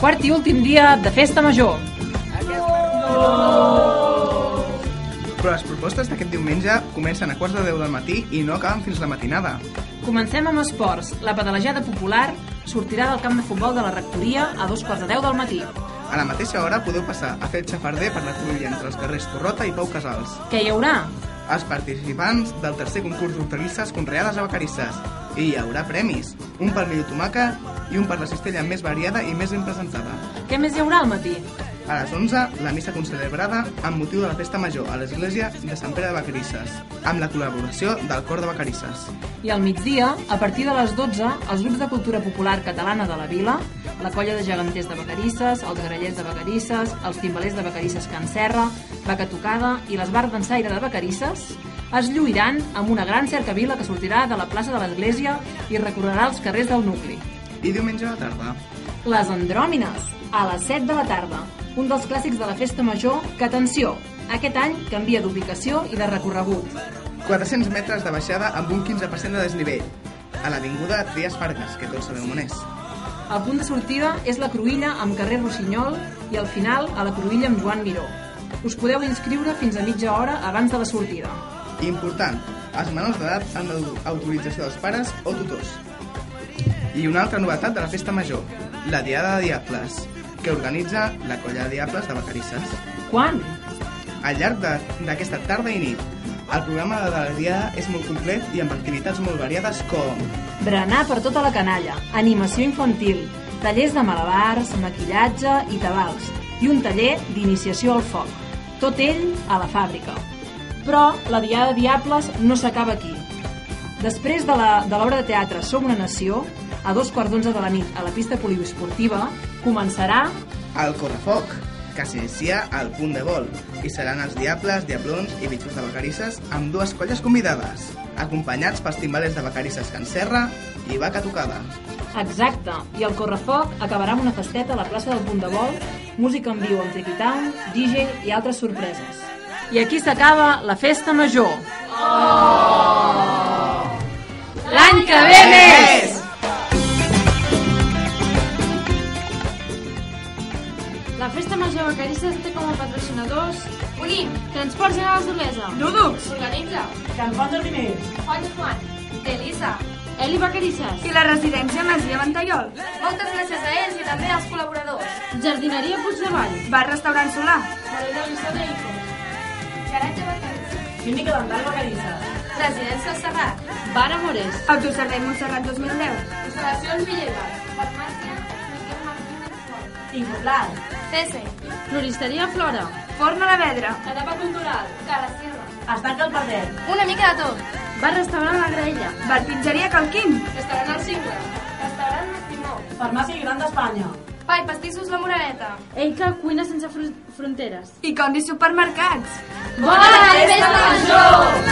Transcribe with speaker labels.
Speaker 1: quart i últim dia de Festa Major.
Speaker 2: Però les propostes d'aquest diumenge comencen a quarts de 10 del matí i no acaben fins la matinada.
Speaker 1: Comencem amb esports. La pedalejada popular sortirà del camp de futbol de la rectoria a dos quarts de deu del matí.
Speaker 2: A la mateixa hora podeu passar a fer el xafarder per la cruïlla entre els carrers Torrota i Pau Casals.
Speaker 1: Què hi haurà?
Speaker 2: Els participants del tercer concurs d'hortalisses conreades a Vacarisses. I hi haurà premis, un per millor tomaca i un per la cistella més variada i més ben presentada.
Speaker 1: Què més hi haurà al matí?
Speaker 2: A les 11, la missa concelebrada amb motiu de la festa major a l'església de Sant Pere de Vacarisses, amb la col·laboració del Cor de Vacarisses.
Speaker 1: I al migdia, a partir de les 12, els grups de cultura popular catalana de la vila, la colla de geganters de Vacarisses, els grallers de Vacarisses, els timbalers de Vacarisses Can Serra, Vaca Tocada i l'esbar d'ensaire de Vacarisses, es lluiran amb una gran cercavila que sortirà de la plaça de l'Església i recorrerà els carrers del nucli.
Speaker 2: I diumenge a la tarda,
Speaker 1: Les Andròmines, a les 7 de la tarda, un dels clàssics de la festa major que, atenció, aquest any canvia d'ubicació i de recorregut.
Speaker 2: 400 metres de baixada amb un 15% de desnivell, a l'avinguda Trias Fargas, que tots sabeu on és.
Speaker 1: El punt de sortida és la Cruïlla amb carrer Rossinyol i al final a la Cruïlla amb Joan Miró. Us podeu inscriure fins a mitja hora abans de la sortida.
Speaker 2: I important, els menors d'edat amb autorització dels pares o tutors. I una altra novetat de la festa major, la Diada de Diables, que organitza la colla de Diables de Vacarisses.
Speaker 1: Quan?
Speaker 2: Al llarg de- d'aquesta tarda i nit, el programa de la Diada és molt complet i amb activitats molt variades com
Speaker 1: Berenar per tota la canalla, animació infantil, tallers de malabars, maquillatge i tabals i un taller d'iniciació al foc. Tot ell a la fàbrica. Però la Diada Diables no s'acaba aquí. Després de la- de l'obra de, de teatre Som una nació, a dos quarts d'onze de la nit a la pista poliesportiva, començarà
Speaker 2: el correfoc, que s'inicia al punt de vol, i seran els Diables, Diablons i Bitxos de Vacarisses amb dues colles convidades, acompanyats pels timbalers de Vacarisses Can Serra i Vaca Tocada.
Speaker 1: Exacte, i el correfoc acabarà amb una festeta a la plaça del Punt de Vol, música en viu amb Tricky Town, DJ i altres sorpreses. I aquí s'acaba la festa major. Oh! L'any que ve més!
Speaker 3: La Festa Major de Vacarisses té com a patrocinadors Unim, Transports Generals d'Olesa,
Speaker 1: Dudux,
Speaker 3: Organitza,
Speaker 1: Can Font del Primer,
Speaker 3: Fons Juan, Elisa, Eli Vacarisses,
Speaker 4: I la residència Masia Ventallol,
Speaker 3: moltes gràcies a ells i també als col·laboradors. Jardineria Puigdevall,
Speaker 4: bar restaurant solar.
Speaker 3: Valera Vissada i Fons, Garatge Vacarisses,
Speaker 1: Clínica Dental Vacarissa.
Speaker 3: Residència El Serrat, Bar Amores,
Speaker 4: Autoservei Montserrat 2010.
Speaker 3: Instal·lacions Villegas, Farmàcia, Miquel Martínez
Speaker 1: Incomplat.
Speaker 3: Cese, Floristeria Flora,
Speaker 4: Forn a la Vedra.
Speaker 3: Etapa Cultural, Cala Sierra,
Speaker 1: Es tanca el partit.
Speaker 3: una mica de tot. Bar Restaurant La Graella,
Speaker 4: Bar Pizzeria Calquim.
Speaker 3: Restaurant El Cingle, Restaurant Mastimó,
Speaker 1: Farmàcia Gran d'Espanya.
Speaker 3: Pai, pastissos La Moraleta.
Speaker 4: Enca Cuina Sense Fronteres. I Condi Supermercats.
Speaker 3: Bona festa major!